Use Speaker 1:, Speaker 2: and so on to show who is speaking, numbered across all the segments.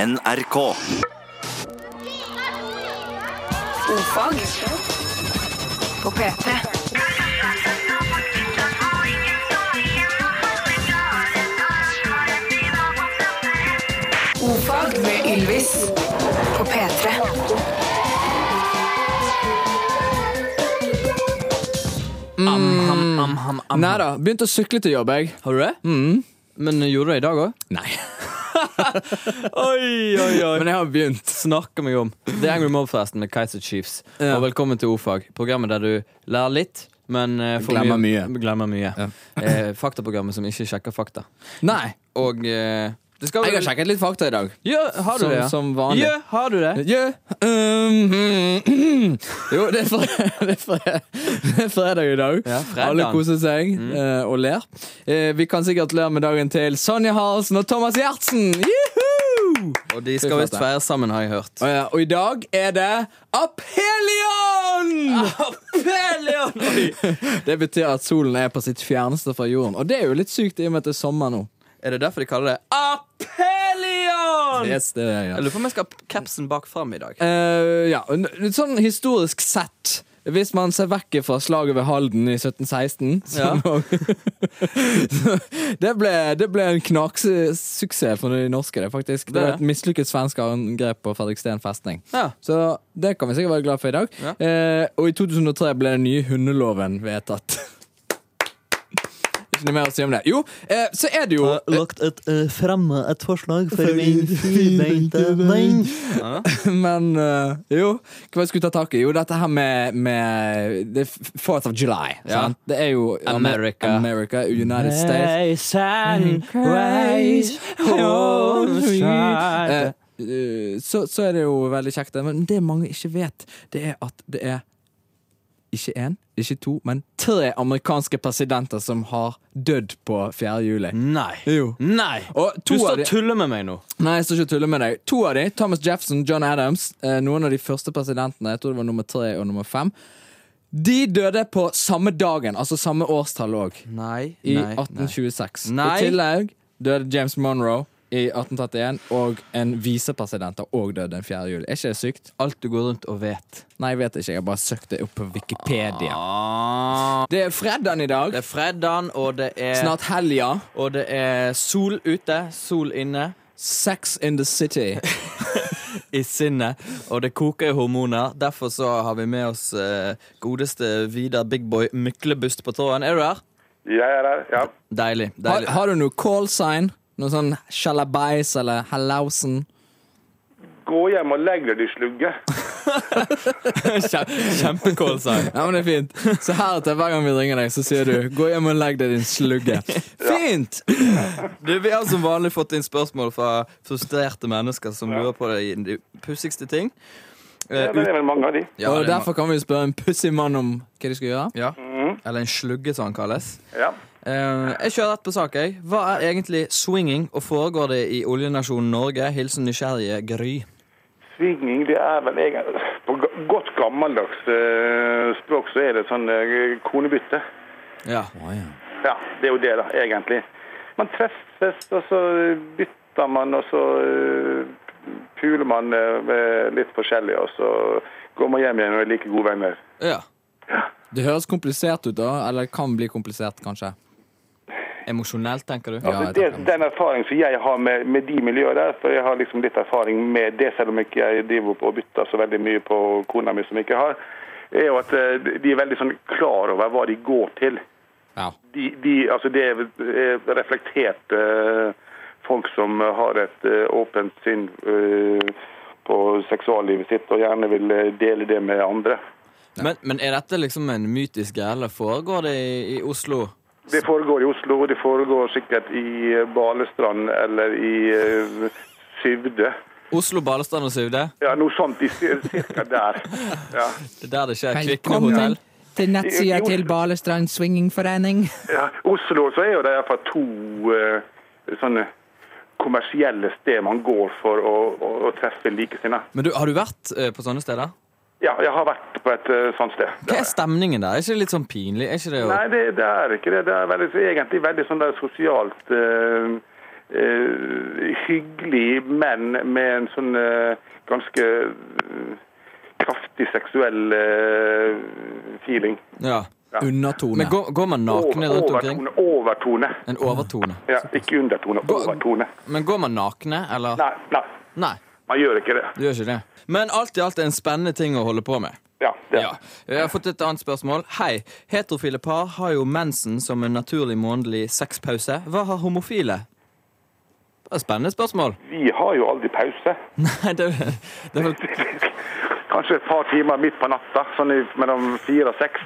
Speaker 1: NRK.
Speaker 2: Ofag på P3. Ofag med Ylvis på P3.
Speaker 3: Am, am, am, am.
Speaker 4: Nei da, begynte å sykle til jobb, jeg. Mm.
Speaker 3: Har du det? Men gjorde du det i dag òg?
Speaker 4: Nei.
Speaker 3: Oi, oi, oi.
Speaker 4: Men jeg har begynt.
Speaker 3: Snakker meg om The Angry Mob-festen med Kaiser Chiefs.
Speaker 4: Ja.
Speaker 3: Og velkommen til Ofag, programmet der du lærer litt, men eh, for
Speaker 4: Glemmer mye.
Speaker 3: Glemmer mye.
Speaker 4: Ja.
Speaker 3: Eh, faktaprogrammet som ikke sjekker fakta.
Speaker 4: Nei.
Speaker 3: Og eh, det skal
Speaker 4: Jeg har sjekket litt fakta i dag.
Speaker 3: Ja, har du
Speaker 4: Som-
Speaker 3: det? ja?
Speaker 4: som vanlig.
Speaker 3: Ja, har du det?
Speaker 4: Jø. Um, hmm. jo, det er, fre- det, er fre- det er fredag i dag.
Speaker 3: Ja, fredag. Mm.
Speaker 4: Alle koser seg eh, og ler. Eh, vi kan sikkert le med dagen til Sonja Haraldsen og Thomas Gjertsen. Juhu!
Speaker 3: Og de skal visst feire sammen, har jeg hørt.
Speaker 4: Og, ja, og i dag er det Aphelion! Det betyr at solen er på sitt fjerneste fra jorden. Og det er jo litt sykt i og med at det er sommer nå.
Speaker 3: Er det derfor de kaller det Apelion?
Speaker 4: Yes, det er, ja.
Speaker 3: Jeg lurer på om jeg skal ha capsen bak fram i dag.
Speaker 4: Eh, ja, n- litt sånn historisk sett Hvis man ser vekk fra slaget ved Halden i 1716 som
Speaker 3: Ja.
Speaker 4: også- det, ble, det ble en knaksuksess for de norske det, faktisk. Det
Speaker 3: Det er
Speaker 4: var
Speaker 3: det.
Speaker 4: et mislykket svensk angrep på Fredriksten festning
Speaker 3: Ja.
Speaker 4: Så det kan vi sikkert være glad for i dag
Speaker 3: Ja.
Speaker 4: Eh, Og i 2003 ble den nye hundeloven vedtatt Ikke noe mer å si om det Jo, eh, så er det jo
Speaker 5: har lagt et, eh, fremme et forslag for min firbeinte venn.
Speaker 4: Men eh, jo, hva jeg skulle ta tak i? Jo, dette her med, med the f- 4th of July.
Speaker 3: Ja.
Speaker 4: Sant? Det er jo
Speaker 3: America.
Speaker 4: America, United States.
Speaker 5: Hey, sun, rise, home,
Speaker 4: Eh,
Speaker 5: shine.
Speaker 4: eh, så, så er det jo veldig kjekt, det. men det mange ikke vet, det er at det er ikke én, ikke to, men tre amerikanske presidenter som har dødd på 4. juli.
Speaker 3: Nei.
Speaker 4: Jo.
Speaker 3: Nei.
Speaker 4: Og
Speaker 3: Du
Speaker 4: to av
Speaker 3: står
Speaker 4: de-
Speaker 3: og tuller med meg nå.
Speaker 4: Nei, jeg står ikke og tuller med deg. To av de, Thomas Jefferson, John Adams, eh, noen av de første presidentene, jeg tror det var nummer tre og nummer fem, de døde på samme dagen, altså samme årstall òg,
Speaker 3: Nei.
Speaker 4: i 1826.
Speaker 3: Nei.
Speaker 4: I tillegg døde James Monroe i 1831, og en visepresident har òg dødd den 4. juli. Er ikke det sykt?
Speaker 3: Alt du går rundt og vet.
Speaker 4: Nei, jeg vet ikke, jeg har bare søkt det opp på Wikipedia. Det er fredagen i dag.
Speaker 3: Ah. Det er fredagen, og det er
Speaker 4: Snart helga.
Speaker 3: Og det er sol ute, sol inne.
Speaker 4: Sex in the city.
Speaker 3: I sinnet. Og det koker i hormoner. Derfor så har vi med oss eh, godeste Vidar Bigboy Myklebust på tråden. Er du der?
Speaker 6: Jeg er her, ja.
Speaker 3: Deilig.
Speaker 4: Har,
Speaker 3: deilig.
Speaker 4: har du noe callsign? Noe sånn sjalabais eller hallausen?
Speaker 6: Gå hjem og legg deg, du slugge.
Speaker 3: Kjempekålsang.
Speaker 4: Ja, men det er fint. Så heretter, hver gang vi ringer deg, så sier du 'gå hjem og legg deg, din slugge'. Fint!
Speaker 3: Du, Vi har som vanlig fått inn spørsmål fra frustrerte mennesker som lurer på de, de pussigste ting. Eh,
Speaker 6: Ja, det
Speaker 3: ut-
Speaker 6: er vel mange av de.
Speaker 3: ja,
Speaker 4: og
Speaker 3: det er
Speaker 4: derfor kan vi spørre en pussig mann om hva de skal gjøre.
Speaker 3: ma- ja. Eller en slugge, som han kalles.
Speaker 6: Ja.
Speaker 3: Eh, jeg kjører rett på sak. jeg Hva er egentlig swinging, og foregår det i oljenasjonen Norge? Hilsen nysgjerrige Gry.
Speaker 6: Svinging, det er vel egentlig På go- godt gammeldags eh, språk så er det sånn eh, konebytte.
Speaker 3: Ja.
Speaker 6: Ja, det er jo det, da, egentlig. Man treffes, og så bytter man, og så eh, puler man eh, med litt forskjellig, og så går man hjem igjen og er like gode venner.
Speaker 3: ja.
Speaker 4: Det høres komplisert ut, da. Eller kan bli komplisert, kanskje.
Speaker 3: Emosjonelt, tenker du?
Speaker 4: Ja, jeg
Speaker 6: det,
Speaker 4: tenker
Speaker 6: den erfaringen som jeg har med, med de miljøene der, for jeg har liksom litt erfaring med det, selv om ikke jeg driver opp og bytter så veldig mye på kona mi som ikke har, er jo at eh, de er veldig sånn klar over hva de går til.
Speaker 4: Ja.
Speaker 6: De, de, altså det er er reflektert eh, folk som har et eh, åpent sinn eh, på seksuallivet sitt, og gjerne vil eh, dele det med andre.
Speaker 3: Men, men er dette liksom en mytisk greie, eller foregår det i, i Oslo?
Speaker 6: Det foregår i Oslo, og det foregår sikkert i eh, Balestrand eller i eh, Syvde.
Speaker 3: Oslo, Balestrand og Suvde?
Speaker 6: Ja, noe sånt i cir- cirka der. Ja.
Speaker 3: Det er der det skjer. Kvikne hotell.
Speaker 4: til
Speaker 6: nettsida til
Speaker 4: Balestrand Swingingforening.
Speaker 6: ja. Oslo så er jo det iallfall to eh, sånne kommersielle steder man går for å, å, å treffe likesinnede.
Speaker 3: Men du, har du vært eh, på sånne steder?
Speaker 6: Ja, jeg har vært på et eh, sånt sted. Det
Speaker 3: Hva
Speaker 6: har
Speaker 3: er
Speaker 6: jeg.
Speaker 3: stemningen der? Er ikke det litt sånn pinlig? Er ikke det jo...
Speaker 6: Nei, det, det er ikke det. Det er veldig, egentlig veldig sånn der sosialt eh, eh, hyggelig, men med en sånn eh, ganske eh, kraftig seksuell eh, feeling.
Speaker 3: Ja.
Speaker 4: Undertone.
Speaker 3: Men går, går man nakne rundt omkring?
Speaker 6: overtone, overtone.
Speaker 3: En overtone.
Speaker 6: Ja, ikke undertone, overtone.
Speaker 3: Men går man nakne, eller?
Speaker 6: Nei, nei,
Speaker 3: Nei,
Speaker 6: man gjør ikke det.
Speaker 3: du gjør ikke det. Men alt i alt er en spennende ting å holde på med.
Speaker 6: Ja, det.
Speaker 3: Ja. Jeg har fått et annet spørsmål. Hei. Heterofile par har jo mensen som en naturlig månedlig sexpause. Hva har homofile? Det er et spennende spørsmål.
Speaker 6: Vi har jo aldri pause.
Speaker 3: Nei, det, det er vel
Speaker 6: Kanskje et par timer midt på natta, sånn i- mellom fire og seks.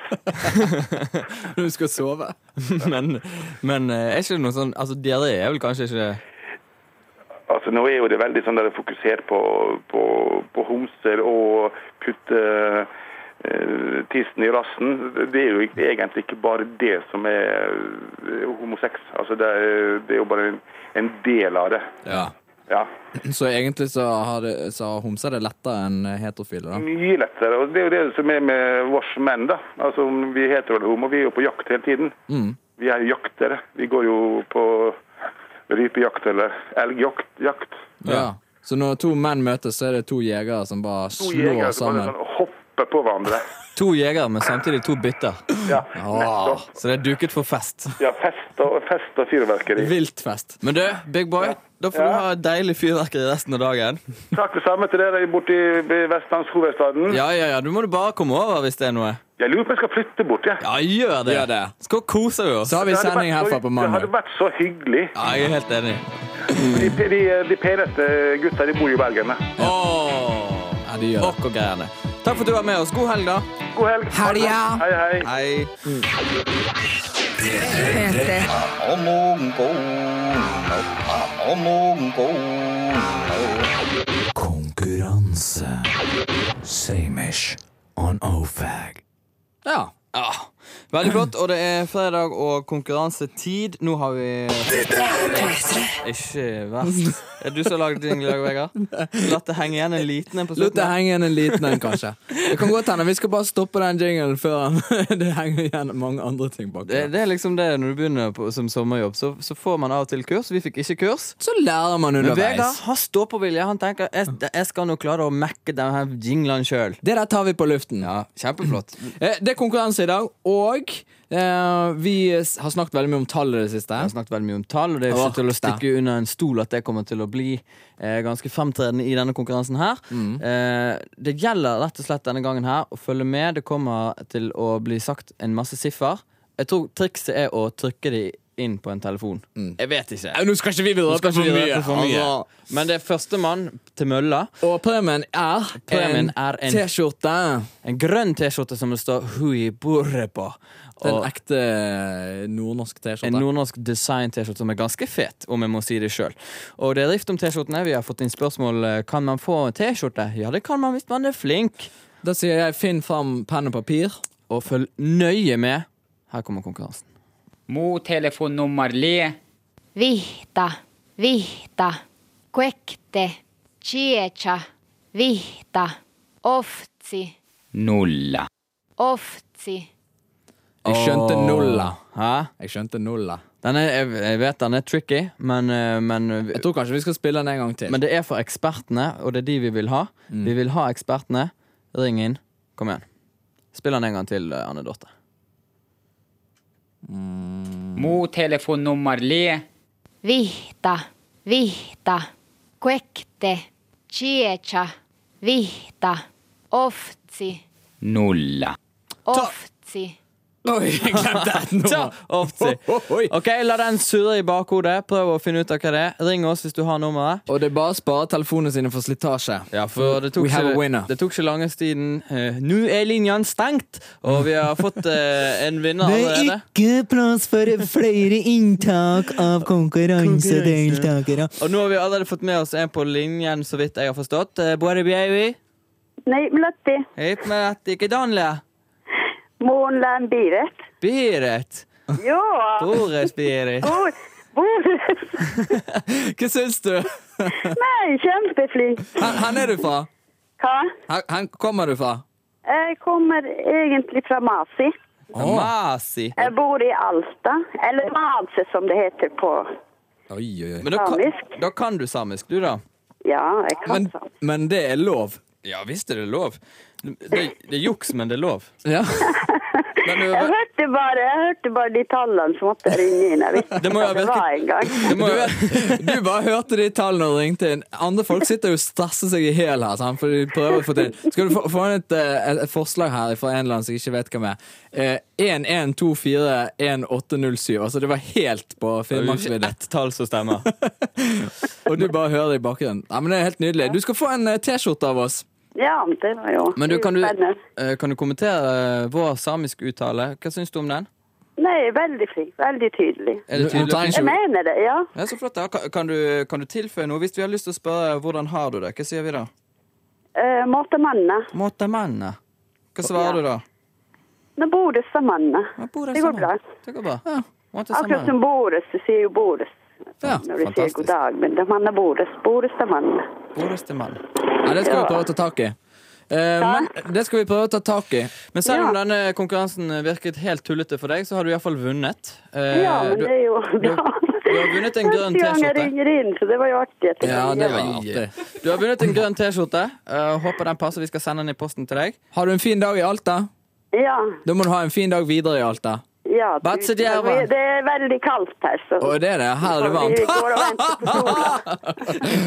Speaker 4: Når du skal sove.
Speaker 3: Men, men eh, er ikke det noe sånn Altså, diaré er vel kanskje ikke
Speaker 6: Altså, nå er jo det veldig sånn der fokusert på, på, på homser og putte eh, tissen i rassen. Det er jo ikke- egentlig ikke bare det som er eh, homosex. Altså, det er, det er jo bare en, en del av det. Ja.
Speaker 4: Så egentlig så har, det, så har homser det lettere enn heterofile, da.
Speaker 6: Mye lettere. Og det er jo det som er med oss menn, da. Altså, om vi er hetero eller homo, vi er jo på jakt hele tiden. Vi er jo jaktere. Vi går jo på rypejakt eller elgjakt. Jakt.
Speaker 4: Ja. Så når to menn møtes, så er det to jegere som bare
Speaker 6: To
Speaker 4: slår
Speaker 6: jegere som bare
Speaker 4: sammen.
Speaker 6: sånn hopper på hverandre.
Speaker 3: To jegere, men samtidig to bytter.
Speaker 6: Ja,
Speaker 3: Ah,
Speaker 6: nettopp.
Speaker 3: så det er duket for fest.
Speaker 6: Ja, fest og, fest og fyrverkeri.
Speaker 4: Viltfest.
Speaker 3: Men du, Big Boy, da får
Speaker 6: Ja.
Speaker 3: du ha deilig fyrverkeri resten av dagen.
Speaker 6: Takk det samme til dere borte i i vestlandshovedstaden.
Speaker 3: Ja, ja, ja, Du må du bare komme over hvis det er noe.
Speaker 6: Jeg lurer på om jeg skal flytte bort, jeg.
Speaker 3: Ja, gjør det.
Speaker 4: Gjør det.
Speaker 3: Skal kose vi oss.
Speaker 4: Så har vi
Speaker 6: Det hadde
Speaker 4: sending
Speaker 6: vært så-
Speaker 4: herfra på
Speaker 6: Det
Speaker 4: mandag.
Speaker 6: hadde vært så hyggelig.
Speaker 3: Ja, jeg er helt enig.
Speaker 6: De, de, de peneste gutta de bor jo i Bergen. da.
Speaker 3: Åh,
Speaker 4: Ja, de gjør det.
Speaker 3: Åk og greiene. Takk for at du var med oss. God helg, da.
Speaker 6: God helg.
Speaker 4: Helga!
Speaker 6: Hei, hei.
Speaker 3: Hei.
Speaker 2: P3.
Speaker 4: Konkurranse. Samish on OFAG. Ja.
Speaker 3: Ja, Veldig flott. Og det er fredag og konkurransetid. Nå har vi Ikke verst. Er det du som har lagd jingle i dag, Vegard? Latt det henge igjen en liten en på
Speaker 4: Slutt å
Speaker 3: slutten?
Speaker 4: henge igjen en liten en, kanskje. Det kan godt hende vi skal bare stoppe den jingelen før han- det henger igjen mange andre ting bak.
Speaker 3: Det,
Speaker 4: der.
Speaker 3: det er liksom det når du begynner på, som sommerjobb, så, så får man av og til kurs. Vi fikk ikke kurs.
Speaker 4: Så lærer man
Speaker 3: Men Vegard
Speaker 4: underveis.
Speaker 3: har ståpåvilje. Han tenker jeg, jeg skal nå klare å mekke denne jinglen sjøl.
Speaker 4: Det der tar vi på luften.
Speaker 3: Ja, kjempeflott.
Speaker 4: Eh, Det er konkurranse i dag, og eh, vi s- har snakket veldig mye om tall i det siste.
Speaker 3: Jeg har snakket veldig mye om tall, og det er
Speaker 4: Åh,
Speaker 3: ikke til å
Speaker 4: da.
Speaker 3: stikke under en stol at det kommer til å bli eh, ganske fremtredende i denne konkurransen her.
Speaker 4: Mm.
Speaker 3: Eh, det gjelder rett og slett denne gangen her å følge med. Det kommer til å bli sagt en masse siffer. Jeg tror trikset er å trykke de inn på en telefon. Jeg vet ikke.
Speaker 4: Eh, Nå skal ikke vi
Speaker 3: Nå
Speaker 4: røpe
Speaker 3: skal
Speaker 4: for
Speaker 3: ikke vi
Speaker 4: mye.
Speaker 3: røpe for mye.
Speaker 4: altså.
Speaker 3: Men det er førstemann til mølla.
Speaker 4: Og premien er
Speaker 3: Premien
Speaker 4: en,
Speaker 3: er en-
Speaker 4: T-skjorte.
Speaker 3: En grønn T-skjorte som det står 'Hui Borre' på.
Speaker 4: Den
Speaker 3: Og
Speaker 4: ekte eh, nordnorsk
Speaker 3: en
Speaker 4: T-skjorte.
Speaker 3: nordnorsk design-T-skjorte som er ganske fet, om jeg må si det sjøl. Og det er rift om T-skjortene. Vi har fått inn spørsmål eh, Kan man få en T-skjorte. Ja, det kan man hvis man er flink.
Speaker 4: Da sier jeg finn fram penn og papir.
Speaker 3: Og følg nøye med. Her kommer konkurransen.
Speaker 1: Mottelefon nummer le.
Speaker 7: Vihta, vihta, kuekte, chiecha, vihta, oftsi,
Speaker 1: Nulla.
Speaker 7: oftsi.
Speaker 4: Jeg skjønte
Speaker 3: Åh.
Speaker 4: nulla.
Speaker 3: Hæ?
Speaker 4: Jeg skjønte nulla.
Speaker 3: Den er, jeg, jeg vet den er tricky, men, eh, men
Speaker 4: Jeg tror kanskje vi skal spille den en gang til.
Speaker 3: Men det er for ekspertene, og det er de vi vil ha. Vi vil ha ekspertene. Ring inn. Kom igjen. Spill den en gang til, eh, Anne Dorte.
Speaker 1: Mottelefon nummer le.
Speaker 7: Vihta, vihta, kuekte, chiecha, vihta, oftsi,
Speaker 1: Nulla.
Speaker 7: oftsi.
Speaker 4: Oi, jeg glemte et
Speaker 3: Ta
Speaker 4: nummer.
Speaker 3: Ofte.
Speaker 4: Oi.
Speaker 3: Ok, La den surre i bakhodet. Prøv å finne ut av hva det er. Ring oss hvis du har nummeret.
Speaker 4: Og det er bare å spare telefonene sine for slitasje.
Speaker 3: Ja, for det tok,
Speaker 4: We have a
Speaker 3: ikke,
Speaker 4: winner.
Speaker 3: det tok ikke lange tiden. Eh, Nå er linjen stengt, og vi har fått eh, en vinner
Speaker 5: Det er
Speaker 3: allerede.
Speaker 5: ikke plass for flere inntak av konkurransedeltakere.
Speaker 3: Og nå har vi allerede fått med oss en på linjen, så vidt jeg har forstått. Eh, Bore Bjevi.
Speaker 8: Nei, Mlatti.
Speaker 3: Hit med at ikke Danle.
Speaker 8: Mån Lan Biret.
Speaker 3: Biret.
Speaker 8: Ja,
Speaker 3: Bores Biret.
Speaker 8: bor, bor.
Speaker 4: Hva syns du?
Speaker 8: Nei, kjempeflink.
Speaker 4: Hvor hvor er du fra?
Speaker 8: Hva?
Speaker 4: Hvor hvor kommer du fra?
Speaker 8: Jeg kommer egentlig fra Masi.
Speaker 3: Masi.
Speaker 8: Jeg bor i Alta, eller Madse som det heter på
Speaker 4: Oi, oi, oi.
Speaker 3: Men da kan,
Speaker 8: Samisk.
Speaker 3: da kan du samisk, du, da?
Speaker 8: Ja, jeg kan
Speaker 4: Men,
Speaker 8: sånn.
Speaker 4: men det er lov.
Speaker 3: Ja visst er det lov. Det, det er juks, men det er lov.
Speaker 4: Ja.
Speaker 3: Men du,
Speaker 8: Jeg hørte bare, jeg hørte bare de tallene som måtte ringe inn. Jeg visste
Speaker 3: Det må
Speaker 8: ikke
Speaker 3: jo
Speaker 8: at
Speaker 3: virke-
Speaker 8: det var en gang.
Speaker 3: det må,
Speaker 4: Du, vet, du bare hørte de tallene og ringte inn. Andre folk sitter jo og stresser seg i hjel her. Sant? For de prøver å få til Skal du få, få inn et, eh, et, et forslag her fra en eller annen som jeg ikke vet hvem er? Eh, 11241807. Altså, det var helt på
Speaker 3: det er jo ikke
Speaker 4: Finnmarksvidda.
Speaker 3: ett tall som stemmer.
Speaker 4: Og du bare hører det i bakgrunnen. Ja, men det er helt nydelig. Du skal få en eh, T-skjorte av oss.
Speaker 8: Ja, det var jo
Speaker 3: Men du, kan, du,
Speaker 8: spennende.
Speaker 3: eh, kan du kommentere eh, vår samiske uttale? Hva syns du om den?
Speaker 8: Nei, veldig flink. Veldig tydelig.
Speaker 3: Er det
Speaker 4: Hun
Speaker 3: tydelig?
Speaker 4: tar en
Speaker 8: Jeg
Speaker 4: tjue-
Speaker 8: mener det, ja.
Speaker 3: Ja, så flott da. Kan, kan, du, kan du tilføye noe? Hvis vi har lyst til å spørre hvordan har du det, hva sier vi da?
Speaker 8: Uh, Måtemannene.
Speaker 3: Måte manne. Hva svarer du da?
Speaker 8: Nå bor det mannene.
Speaker 3: Ja, bor det
Speaker 8: Det går
Speaker 3: sammen.
Speaker 8: bra.
Speaker 3: Det går bra. Måte sammen.
Speaker 8: Akkurat som Boris, du sier jo Boris
Speaker 4: Ja,
Speaker 8: når du sier
Speaker 3: fantastisk.
Speaker 8: god dag, men det er mannen Boris. Boris er mannen.
Speaker 3: Boreste mann.
Speaker 4: Ja, det skal vi prøve å ta tak i. Eh, men det skal vi prøve å ta tak i.
Speaker 3: Men selv om
Speaker 8: Ja.
Speaker 3: denne konkurransen virket helt tullete for deg, så har du iallfall vunnet. Eh,
Speaker 8: Ja, men
Speaker 3: du-
Speaker 8: det er jo
Speaker 3: du-
Speaker 8: bra.
Speaker 3: du har vunnet en grønn
Speaker 8: Første gang jeg
Speaker 3: T-skjorte.
Speaker 8: ringer inn, så det var jo artig. at jeg
Speaker 4: Ja,
Speaker 8: ringer.
Speaker 4: det var artig.
Speaker 3: Du har vunnet en grønn T-skjorte. Eh, håper den passer. Vi skal sende den i posten til deg.
Speaker 4: Har du en fin dag i Alta?
Speaker 8: Ja,
Speaker 4: Da må du ha en fin dag videre i Alta.
Speaker 8: ja. du-
Speaker 3: Batse Djervan.
Speaker 8: Det er veldig kaldt her, så
Speaker 4: Og det er det. Her er det varmt.
Speaker 8: Vi går og venter på sola.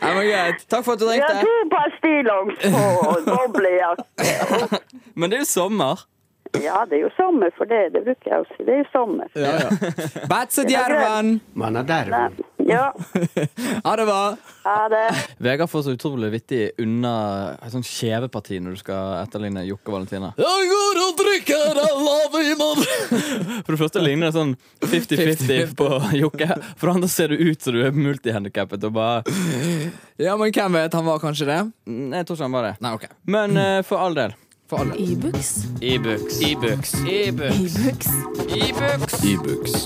Speaker 4: Ja, men greit.
Speaker 3: Takk for at du
Speaker 8: Vi har
Speaker 3: ringte.
Speaker 8: to par stillongs på og boblejakke.
Speaker 3: Men det er jo sommer.
Speaker 8: Ja, det er jo sommer for det. Det bruker jeg å si. Det er jo sommer.
Speaker 4: Ja, ja. Batsedjerven!
Speaker 8: Ja,
Speaker 4: Ha det bra!
Speaker 8: ha det.
Speaker 3: Vegard får så utrolig vittig unna et sånt kjeveparti når du skal etterligne Jokke Valentina.
Speaker 4: Jeg går og drikker alla viner!
Speaker 3: For det første ligner det sånn 50-50 på Jokke. For det andre ser du ut som du er multihandikappet og bare
Speaker 4: Ja, men hvem vet? Han var kanskje det?
Speaker 3: Nei, jeg tror ikke han var det.
Speaker 4: Nei, OK.
Speaker 3: Men eh, for all del.
Speaker 4: For alle.
Speaker 2: E-books.
Speaker 3: E-books. E-books.
Speaker 2: E-books.
Speaker 4: E-books.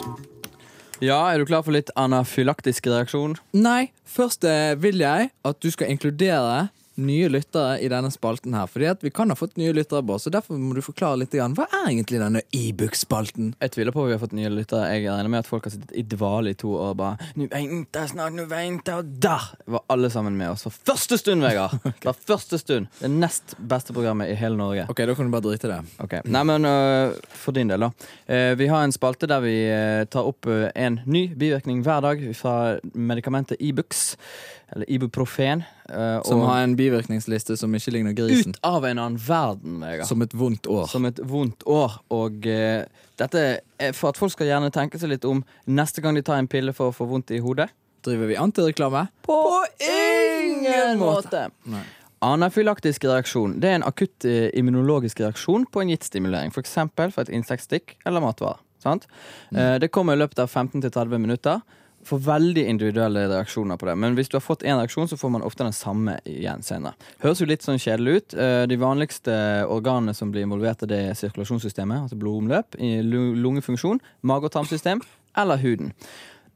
Speaker 3: Ja, er du klar for litt anafylaktisk reaksjon?
Speaker 4: Nei, først eh, vil jeg at du skal inkludere nye lyttere i denne spalten her. Fordi at vi kan ha fått nye lyttere, Bård, så derfor må du forklare litt. Grann. Hva er egentlig denne e-book-spalten?
Speaker 3: Jeg tviler på at vi har fått nye lyttere. Jeg regner med at folk har sittet i dvale i to år og bare Nu venter jeg snart, nu venter jeg, og der var alle sammen med oss fra første stund, Vegard! Fra første stund. Det nest beste programmet i hele Norge.
Speaker 4: Ok, da kan du bare drite i det.
Speaker 3: Ok, Nei, men øh, for din del, da. Eh, vi har en spalte der vi eh, tar opp eh, en ny bivirkning hver dag fra medikamentet Ibux. Eller Ibuprofen. eh,
Speaker 4: Som
Speaker 3: og
Speaker 4: har en bivirkningsliste som ikke ligner grisen.
Speaker 3: ut av en annen verden, Vegard.
Speaker 4: Som et vondt år.
Speaker 3: Som et vondt år. Og eh, dette er for at folk skal gjerne tenke seg litt om neste gang de tar en pille for å få vondt i hodet.
Speaker 4: Driver vi antireklame?
Speaker 3: På ingen måte! Anafylaktisk reaksjon det er en akutt eh, immunologisk reaksjon på en gitt stimulering. F.eks. fra et insektstikk eller matvare. Sant? Eh, Det kommer i løpet av 15-30 minutter. Får veldig individuelle reaksjoner på det. Men hvis du har fått én reaksjon, så får man ofte den samme igjen senere. Høres jo litt sånn kjedelig ut. Eh, De vanligste organene som blir involvert, i det er sirkulasjonssystemet, altså blodomløp, i lu- lungefunksjon, mage- og tarmsystem eller huden.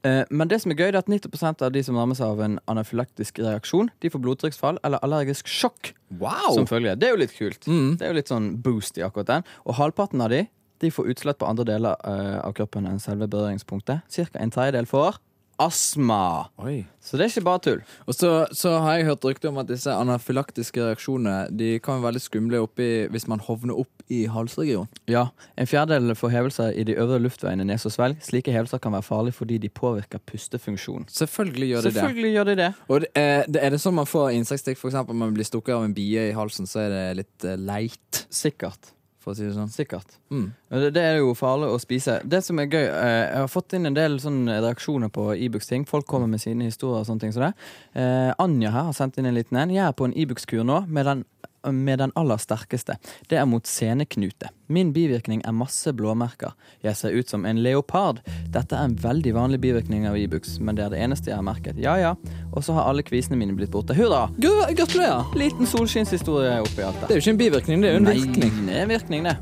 Speaker 3: Eh, Men det som er gøy, det er at 90 av de som rammes av en anafylaktisk reaksjon, de får blodtrykksfall eller allergisk sjokk.
Speaker 4: Wow! Mm.
Speaker 3: Som følge. Det er jo litt kult. Det er jo litt sånn boost i akkurat den. Og halvparten av de de får utslett på andre deler eh, av kroppen enn selve berøringspunktet. Cirka en tredjedel får astma.
Speaker 4: Oi.
Speaker 3: Så det er ikke bare tull.
Speaker 4: Og så, så har jeg hørt rykte om at disse anafylaktiske reaksjonene De kan være veldig skumle oppi, hvis man hovner opp i halsregionen.
Speaker 3: Ja, En fjerdedel får hevelser i de øvre luftveiene nes og svelg. Slike hevelser kan være farlige fordi de påvirker pustefunksjonen.
Speaker 4: Selvfølgelig gjør de det.
Speaker 3: Selvfølgelig gjør de det.
Speaker 4: Og det, eh, det er det sånn man får insektstikk, f.eks. om man blir stukket av en bie i halsen, så er det litt eh, leit,
Speaker 3: Sikkert.
Speaker 4: for å si det sånn.
Speaker 3: Sikkert.
Speaker 4: Mm.
Speaker 3: Det, det er jo farlig å spise. Det som er gøy, eh, Jeg har fått inn en del sånne reaksjoner på Ibux-ting. Folk
Speaker 4: Mm.
Speaker 3: kommer med sine historier. og sånne ting som det. Eh, Anja her har sendt inn en liten en. Jeg er på en Ibux-kur nå med den, med den aller sterkeste. Det er mot seneknute. Min bivirkning er masse blåmerker. Jeg ser ut som en leopard. Dette er en veldig vanlig bivirkning av Ibux, men det er det eneste jeg har merket. Ja ja. Og så har alle kvisene mine blitt borte. Hurra!
Speaker 4: Gr- Gratulerer!
Speaker 3: Liten solskinnshistorie oppi alt
Speaker 4: Det
Speaker 3: det.
Speaker 4: er jo ikke en bivirkning, det er jo en virkning.
Speaker 3: Nei, det er virkning, det.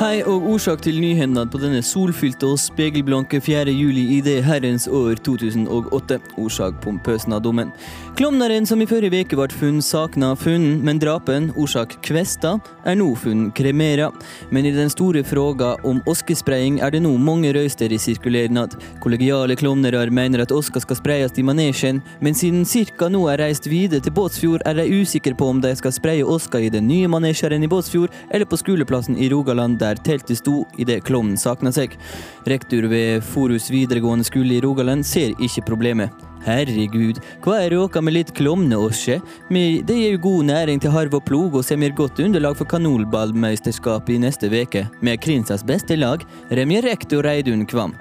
Speaker 5: Hei og årsak til nyhendene på denne solfylte og spegelblanke 4. juli i det herrens år 2008. Årsak pompøsnadommen. Klovneren som i forrige uke ble funnet sakna funnet, men drapen, årsak kvesta, er nå funnet kremera. Men i den store fråga om oskespraying er det nå mange røyster i sirkulernad. Kollegiale klovnerer mener at oska skal sprayes i manesjen, men siden cirka nå er reist videre til Båtsfjord, er de usikre på om de skal spraye oska i den nye manesjeren i Båtsfjord, eller på skoleplassen i Rogaland der teltet sto idet klovnen sakna seg. Rektor ved Forus videregående skole i Rogaland ser ikke problemet. Herregud, hva er råka med litt klovneåsje? Men Det gir jo god næring til harv og plog, og som gir godt underlag for kanolballmesterskapet i neste veke, med Krinsas beste lag, Remje rektor Reidun Kvam.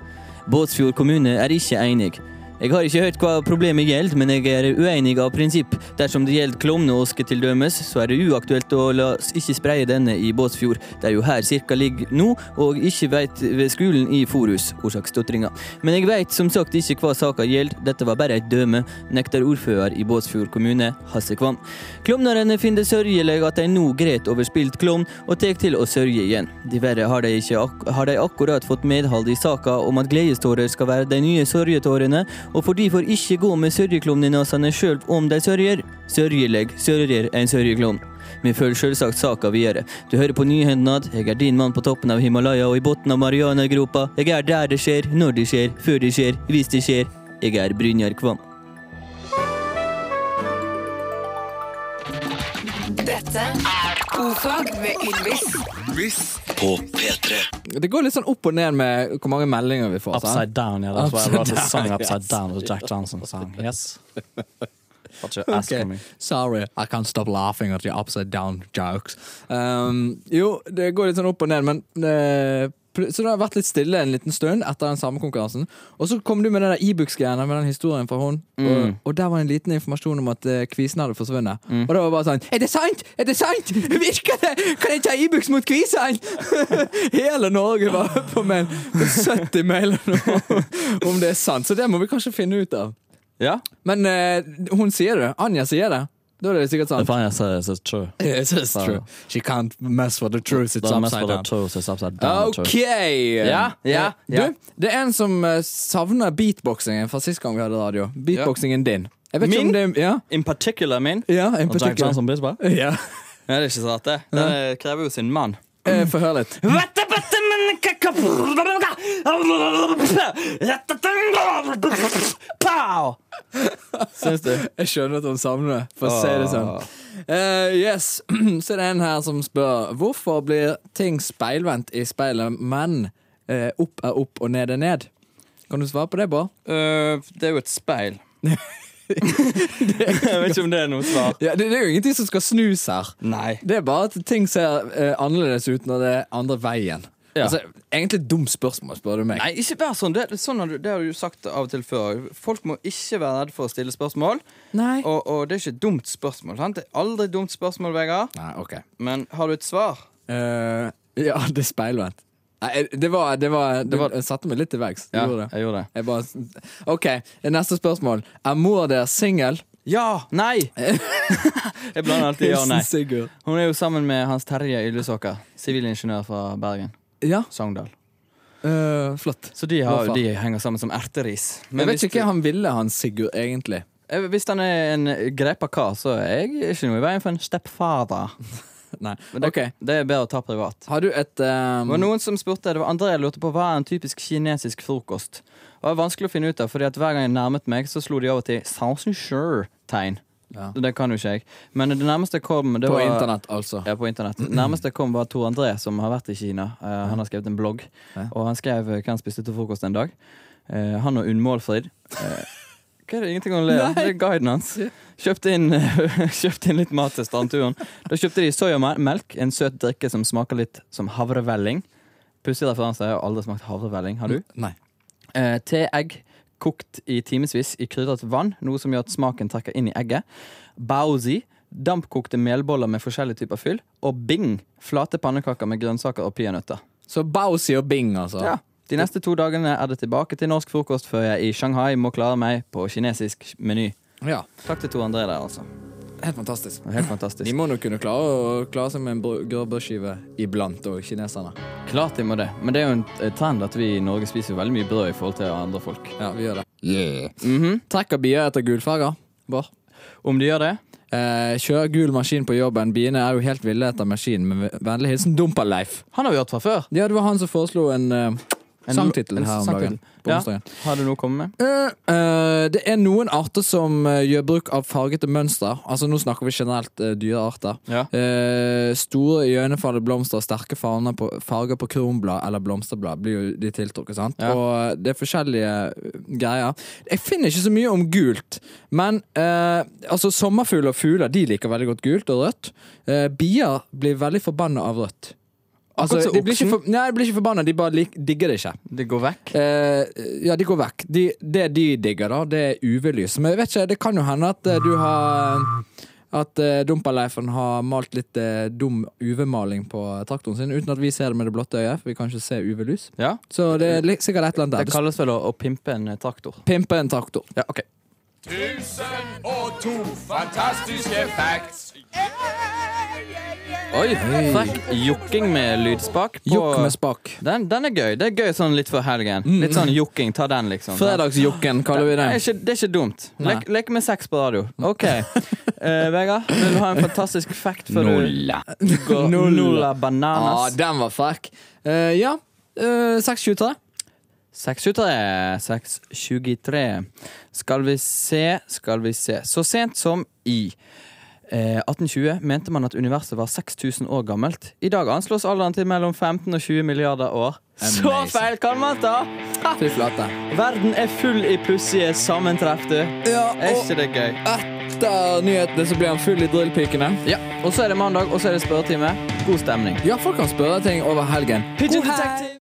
Speaker 5: Båtsfjord kommune er ikke enig. Jeg har ikke hørt hva problemet gjelder, men jeg er uenig av prinsipp. Dersom det gjelder klovneåske til dømes, så er det uaktuelt å la oss ikke spreie denne i Båtsfjord. Det er jo her cirka ligger nå, og ikke veit ved skolen i Forus, orsak stotringa. Men jeg veit som sagt ikke hva saka gjelder, dette var bare et døme, nekter ordfører i Båtsfjord kommune, Hasse Kvam. Klovnerne finner det sørgelig at de nå gret over spilt klovn, og tar til å sørge igjen. Diverre har de, ikke ak har de akkurat fått medhold i saka om at gledestårer skal være de nye sørgetårene, og for de får ikke gå med sørjeklovnenasene sjøl om de sørger. Sørgeleg sørger en sørjeklovn. Vi følger sjølsagt saka videre. Du hører på Nyhendnad. Jeg er din mann på toppen av Himalaya og i bunnen av Marianagropa. Jeg er der det skjer, når det skjer, før det skjer, hvis det skjer. Jeg er Brynjar Kvam.
Speaker 2: Dette er Ofag med Ylvis.
Speaker 4: Det går litt sånn opp og ned med hvor mange meldinger vi får. sant?
Speaker 9: Upside down, yeah. That's why I
Speaker 4: Upside
Speaker 9: wrote the song
Speaker 4: down,
Speaker 9: Upside
Speaker 4: yes.
Speaker 9: Down, the Jack Johnson song. Yes. But you're
Speaker 4: Okay.
Speaker 9: asking me.
Speaker 4: Sorry, I can't stop laughing at your upside down jokes. Um, jo, det går litt sånn opp og ned, men eh, pl- Så det har vært litt stille en liten stund etter den samme konkurransen. Og så kom du med den der e-books-greiene med den historien fra hun. Og, og der var en liten informasjon om at eh, kvisen hadde forsvunnet. Og da var det bare sånn Er det sant?! Er det sant?! Virker det?! Kan jeg ta e-books mot kvisen?! Hele Norge var på mail. 70 mailer nå om det er sant. Så det må vi kanskje finne ut av.
Speaker 3: Ja.
Speaker 4: Men eh, hun sier det. Anja sier det. Da er det sikkert sant.
Speaker 9: If I say it's it's true. er
Speaker 4: Yes, it's true. She can't mess with the truth. It's
Speaker 9: Don't mess
Speaker 4: upside
Speaker 9: with the
Speaker 4: down.
Speaker 9: truth, it's upside down. er the
Speaker 4: OK!
Speaker 9: truth.
Speaker 4: Ja,
Speaker 3: ja, ja.
Speaker 4: Du, det er en som eh, savner beatboxingen fra sist gang vi hadde radio. Beatboxingen din. Jeg vet
Speaker 3: Min?
Speaker 4: ikke om det Ja,
Speaker 3: In particular min.
Speaker 4: ja en
Speaker 9: Og Jack
Speaker 4: particular.
Speaker 9: Johnson bitch, hva?
Speaker 4: Ja.
Speaker 3: Ja, det er ikke sant, det. Det krever jo sin mann.
Speaker 4: Eh, Få høre litt.
Speaker 3: Pow!
Speaker 4: Syns du? Jeg skjønner at han savner det, for å si det sånn. Eh, yes, så det er en her som spør Hvorfor blir ting speilvendt i speilet, men eh, opp er opp og ned er ned? Kan du svare på det, Bård?
Speaker 3: Øh, det er jo et speil. jeg vet ikke om det er noe svar.
Speaker 4: Ja, det, det er jo ingenting som skal snus her.
Speaker 3: Nei.
Speaker 4: Det er bare at ting ser eh, annerledes ut når det er andre veien.
Speaker 3: Ja.
Speaker 4: Altså, Egentlig et dumt spørsmål, spør du meg.
Speaker 3: Nei, ikke vær sånn. Det, er- sånn har du, det har du sagt av og til før. Folk må ikke være redde for å stille spørsmål.
Speaker 4: Nei.
Speaker 3: Og, og det er ikke et dumt spørsmål. sant? Det er aldri et dumt spørsmål, Vegard.
Speaker 4: Nei, ok.
Speaker 3: Men har du et svar?
Speaker 4: Eh, ja, det er speilvendt. Nei, eh, det var, det var, det
Speaker 3: var-
Speaker 4: Jeg satte meg litt til veggs. Du gjorde det.
Speaker 3: jeg gjorde det.
Speaker 4: Jeg bare, ok, neste spørsmål. Er mor deres singel?
Speaker 3: Ja! Nei! jeg blander alltid ja og nei.
Speaker 4: Hilsen Sigurd.
Speaker 3: Hun er jo sammen med Hans Terje Ylvesåker, sivilingeniør fra Bergen.
Speaker 4: Ja,
Speaker 3: Sogndal.
Speaker 4: eh, flott.
Speaker 3: Så de, har,
Speaker 4: Hvorfor?
Speaker 3: de henger sammen som erteris. Men
Speaker 4: Jeg vet
Speaker 3: hvis-
Speaker 4: ikke hva han ville, han Sigurd, egentlig.
Speaker 3: Eh, Hvis han er en grepa kar, så er jeg ikke noe i veien for en stepfather.
Speaker 4: Nei,
Speaker 3: Men det,
Speaker 4: ok.
Speaker 3: det er bedre å ta privat.
Speaker 4: Har du et eh,
Speaker 3: Det var noen som spurte, det var André lurte på hva er en typisk kinesisk frokost. Det var vanskelig å finne ut av, fordi at hver gang jeg nærmet meg, så slo de over til Southshire-tegn.
Speaker 4: Ja.
Speaker 3: Det kan jo ikke jeg. Men det nærmeste kom det
Speaker 4: På
Speaker 3: var,
Speaker 4: internett, altså.
Speaker 3: Ja, på internett. Nærmeste kom var Tor André, som har vært i Kina. Eh, han har skrevet en blogg, og han skrev eh, hva han spiste til frokost en dag. Eh, han og Unn Målfrid. Eh, hva er det ingenting å le av? Det er guiden hans. Kjøpte inn, eh, kjøpte inn litt mat til strandturen. Da kjøpte de soyamelk, en søt drikke som smaker litt som havrevelling. Pussig referanse, jeg har aldri smakt havrevelling. Har du?
Speaker 4: Nei.
Speaker 3: Eh, Teegg kokt i timevis i krydret vann, noe som gjør at smaken trekker inn i egget. Baozi, dampkokte melboller med forskjellige typer fyll. Og bing, flate pannekaker med grønnsaker og peanøtter.
Speaker 4: Så Bowsy og Bing, altså.
Speaker 3: Ja. De neste to dagene er det tilbake til norsk frokost før jeg i Shanghai må klare meg på kinesisk meny.
Speaker 4: Ja.
Speaker 3: Takk til Tor André der, altså.
Speaker 4: Helt fantastisk.
Speaker 3: Helt fantastisk.
Speaker 4: De må nå kunne klare å klare seg med en br- grå brødskive iblant, og kineserne.
Speaker 3: Klart de må det. Men det er jo en eh, trend at vi i Norge spiser veldig mye brød i forhold til andre folk.
Speaker 4: Ja, vi gjør det.
Speaker 9: Yeah.
Speaker 4: Trekker bier etter gulfarger, Bård.
Speaker 3: Om de gjør det?
Speaker 4: Eh, kjører gul maskin på jobben. Biene er jo helt ville etter maskinen, men vennlig hilsen Dumper-Leif.
Speaker 3: Han har vi hørt fra før.
Speaker 4: Ja, det var han som foreslo en, eh, sangtittel
Speaker 3: en
Speaker 4: her om dagen.
Speaker 3: sangtittel.
Speaker 4: På
Speaker 3: Ja.
Speaker 4: onsdagen.
Speaker 3: Har du noe å komme med?
Speaker 4: Eh, eh, det er noen arter som eh, gjør bruk av fargete mønster. Altså Nå snakker vi generelt eh, dyrearter.
Speaker 3: Ja.
Speaker 4: Eh, store iøynefallende blomster og sterke farger på, farger på kronblad eller blomsterblad blir jo de tiltrukket. sant?
Speaker 3: Ja.
Speaker 4: Og det er forskjellige eh, greier. Jeg finner ikke så mye om gult, men eh, altså sommerfugler og fugler de liker veldig godt gult og rødt. Eh, bier blir veldig forbanna av rødt. Altså,
Speaker 3: som
Speaker 4: de blir ikke
Speaker 3: oksen.
Speaker 4: for, nei, de blir ikke forbanna, de bare lik, digger det ikke.
Speaker 3: Det går vekk.
Speaker 4: Eh, ja, de går vekk. De, det de digger, da, det er UV-lys. Men jeg vet ikke, det kan jo hende at eh, du har At eh, Dumperleifen har malt litt eh, dum UV-maling på eh, traktoren sin, uten at vi ser det med det blotte øyet, for vi kan ikke se UV-lys.
Speaker 3: Ja.
Speaker 4: Så det er li- sikkert et eller
Speaker 3: Det
Speaker 4: annet der.
Speaker 3: kalles vel å, å pimpe en eh, traktor.
Speaker 4: Pimpe en traktor.
Speaker 3: Ja, ok. Oi, frekk jokking med lydspak. på-
Speaker 4: Jokk med spak.
Speaker 3: Den, den er gøy. Det er gøy sånn litt før helgen. Litt sånn jokking. Ta den, liksom.
Speaker 4: Fredagsjokken, kaller vi
Speaker 3: Det
Speaker 4: det.
Speaker 3: er ikke, det er ikke dumt. Lek, leke med sex på radio. OK. Eh, Vegard, vil du ha en fantastisk fact før du
Speaker 1: nulla,
Speaker 3: går
Speaker 4: Null.
Speaker 3: nulla
Speaker 4: Ah,
Speaker 3: bananas?
Speaker 4: den var frekk. Eh, ja. Eh, 623.
Speaker 3: 623. 623. Skal vi se, skal vi se. Så sent som i eh, 1820 mente man at universet var 6000 år gammelt. I dag anslås alderen til mellom 15 og 20 milliarder år. Så
Speaker 4: Amazing.
Speaker 3: feil kan man ta!
Speaker 4: Fy flate.
Speaker 3: Verden er full i plutsige sammentreff, du.
Speaker 4: Ja,
Speaker 3: Er
Speaker 4: og
Speaker 3: ikke det gøy?
Speaker 4: etter nyhetene så blir han full i drillpikene.
Speaker 3: Ja, Og så er det mandag, og så er det spørretime. God stemning.
Speaker 4: Ja, folk kan spørre ting over helgen.
Speaker 3: Pigeon Detective!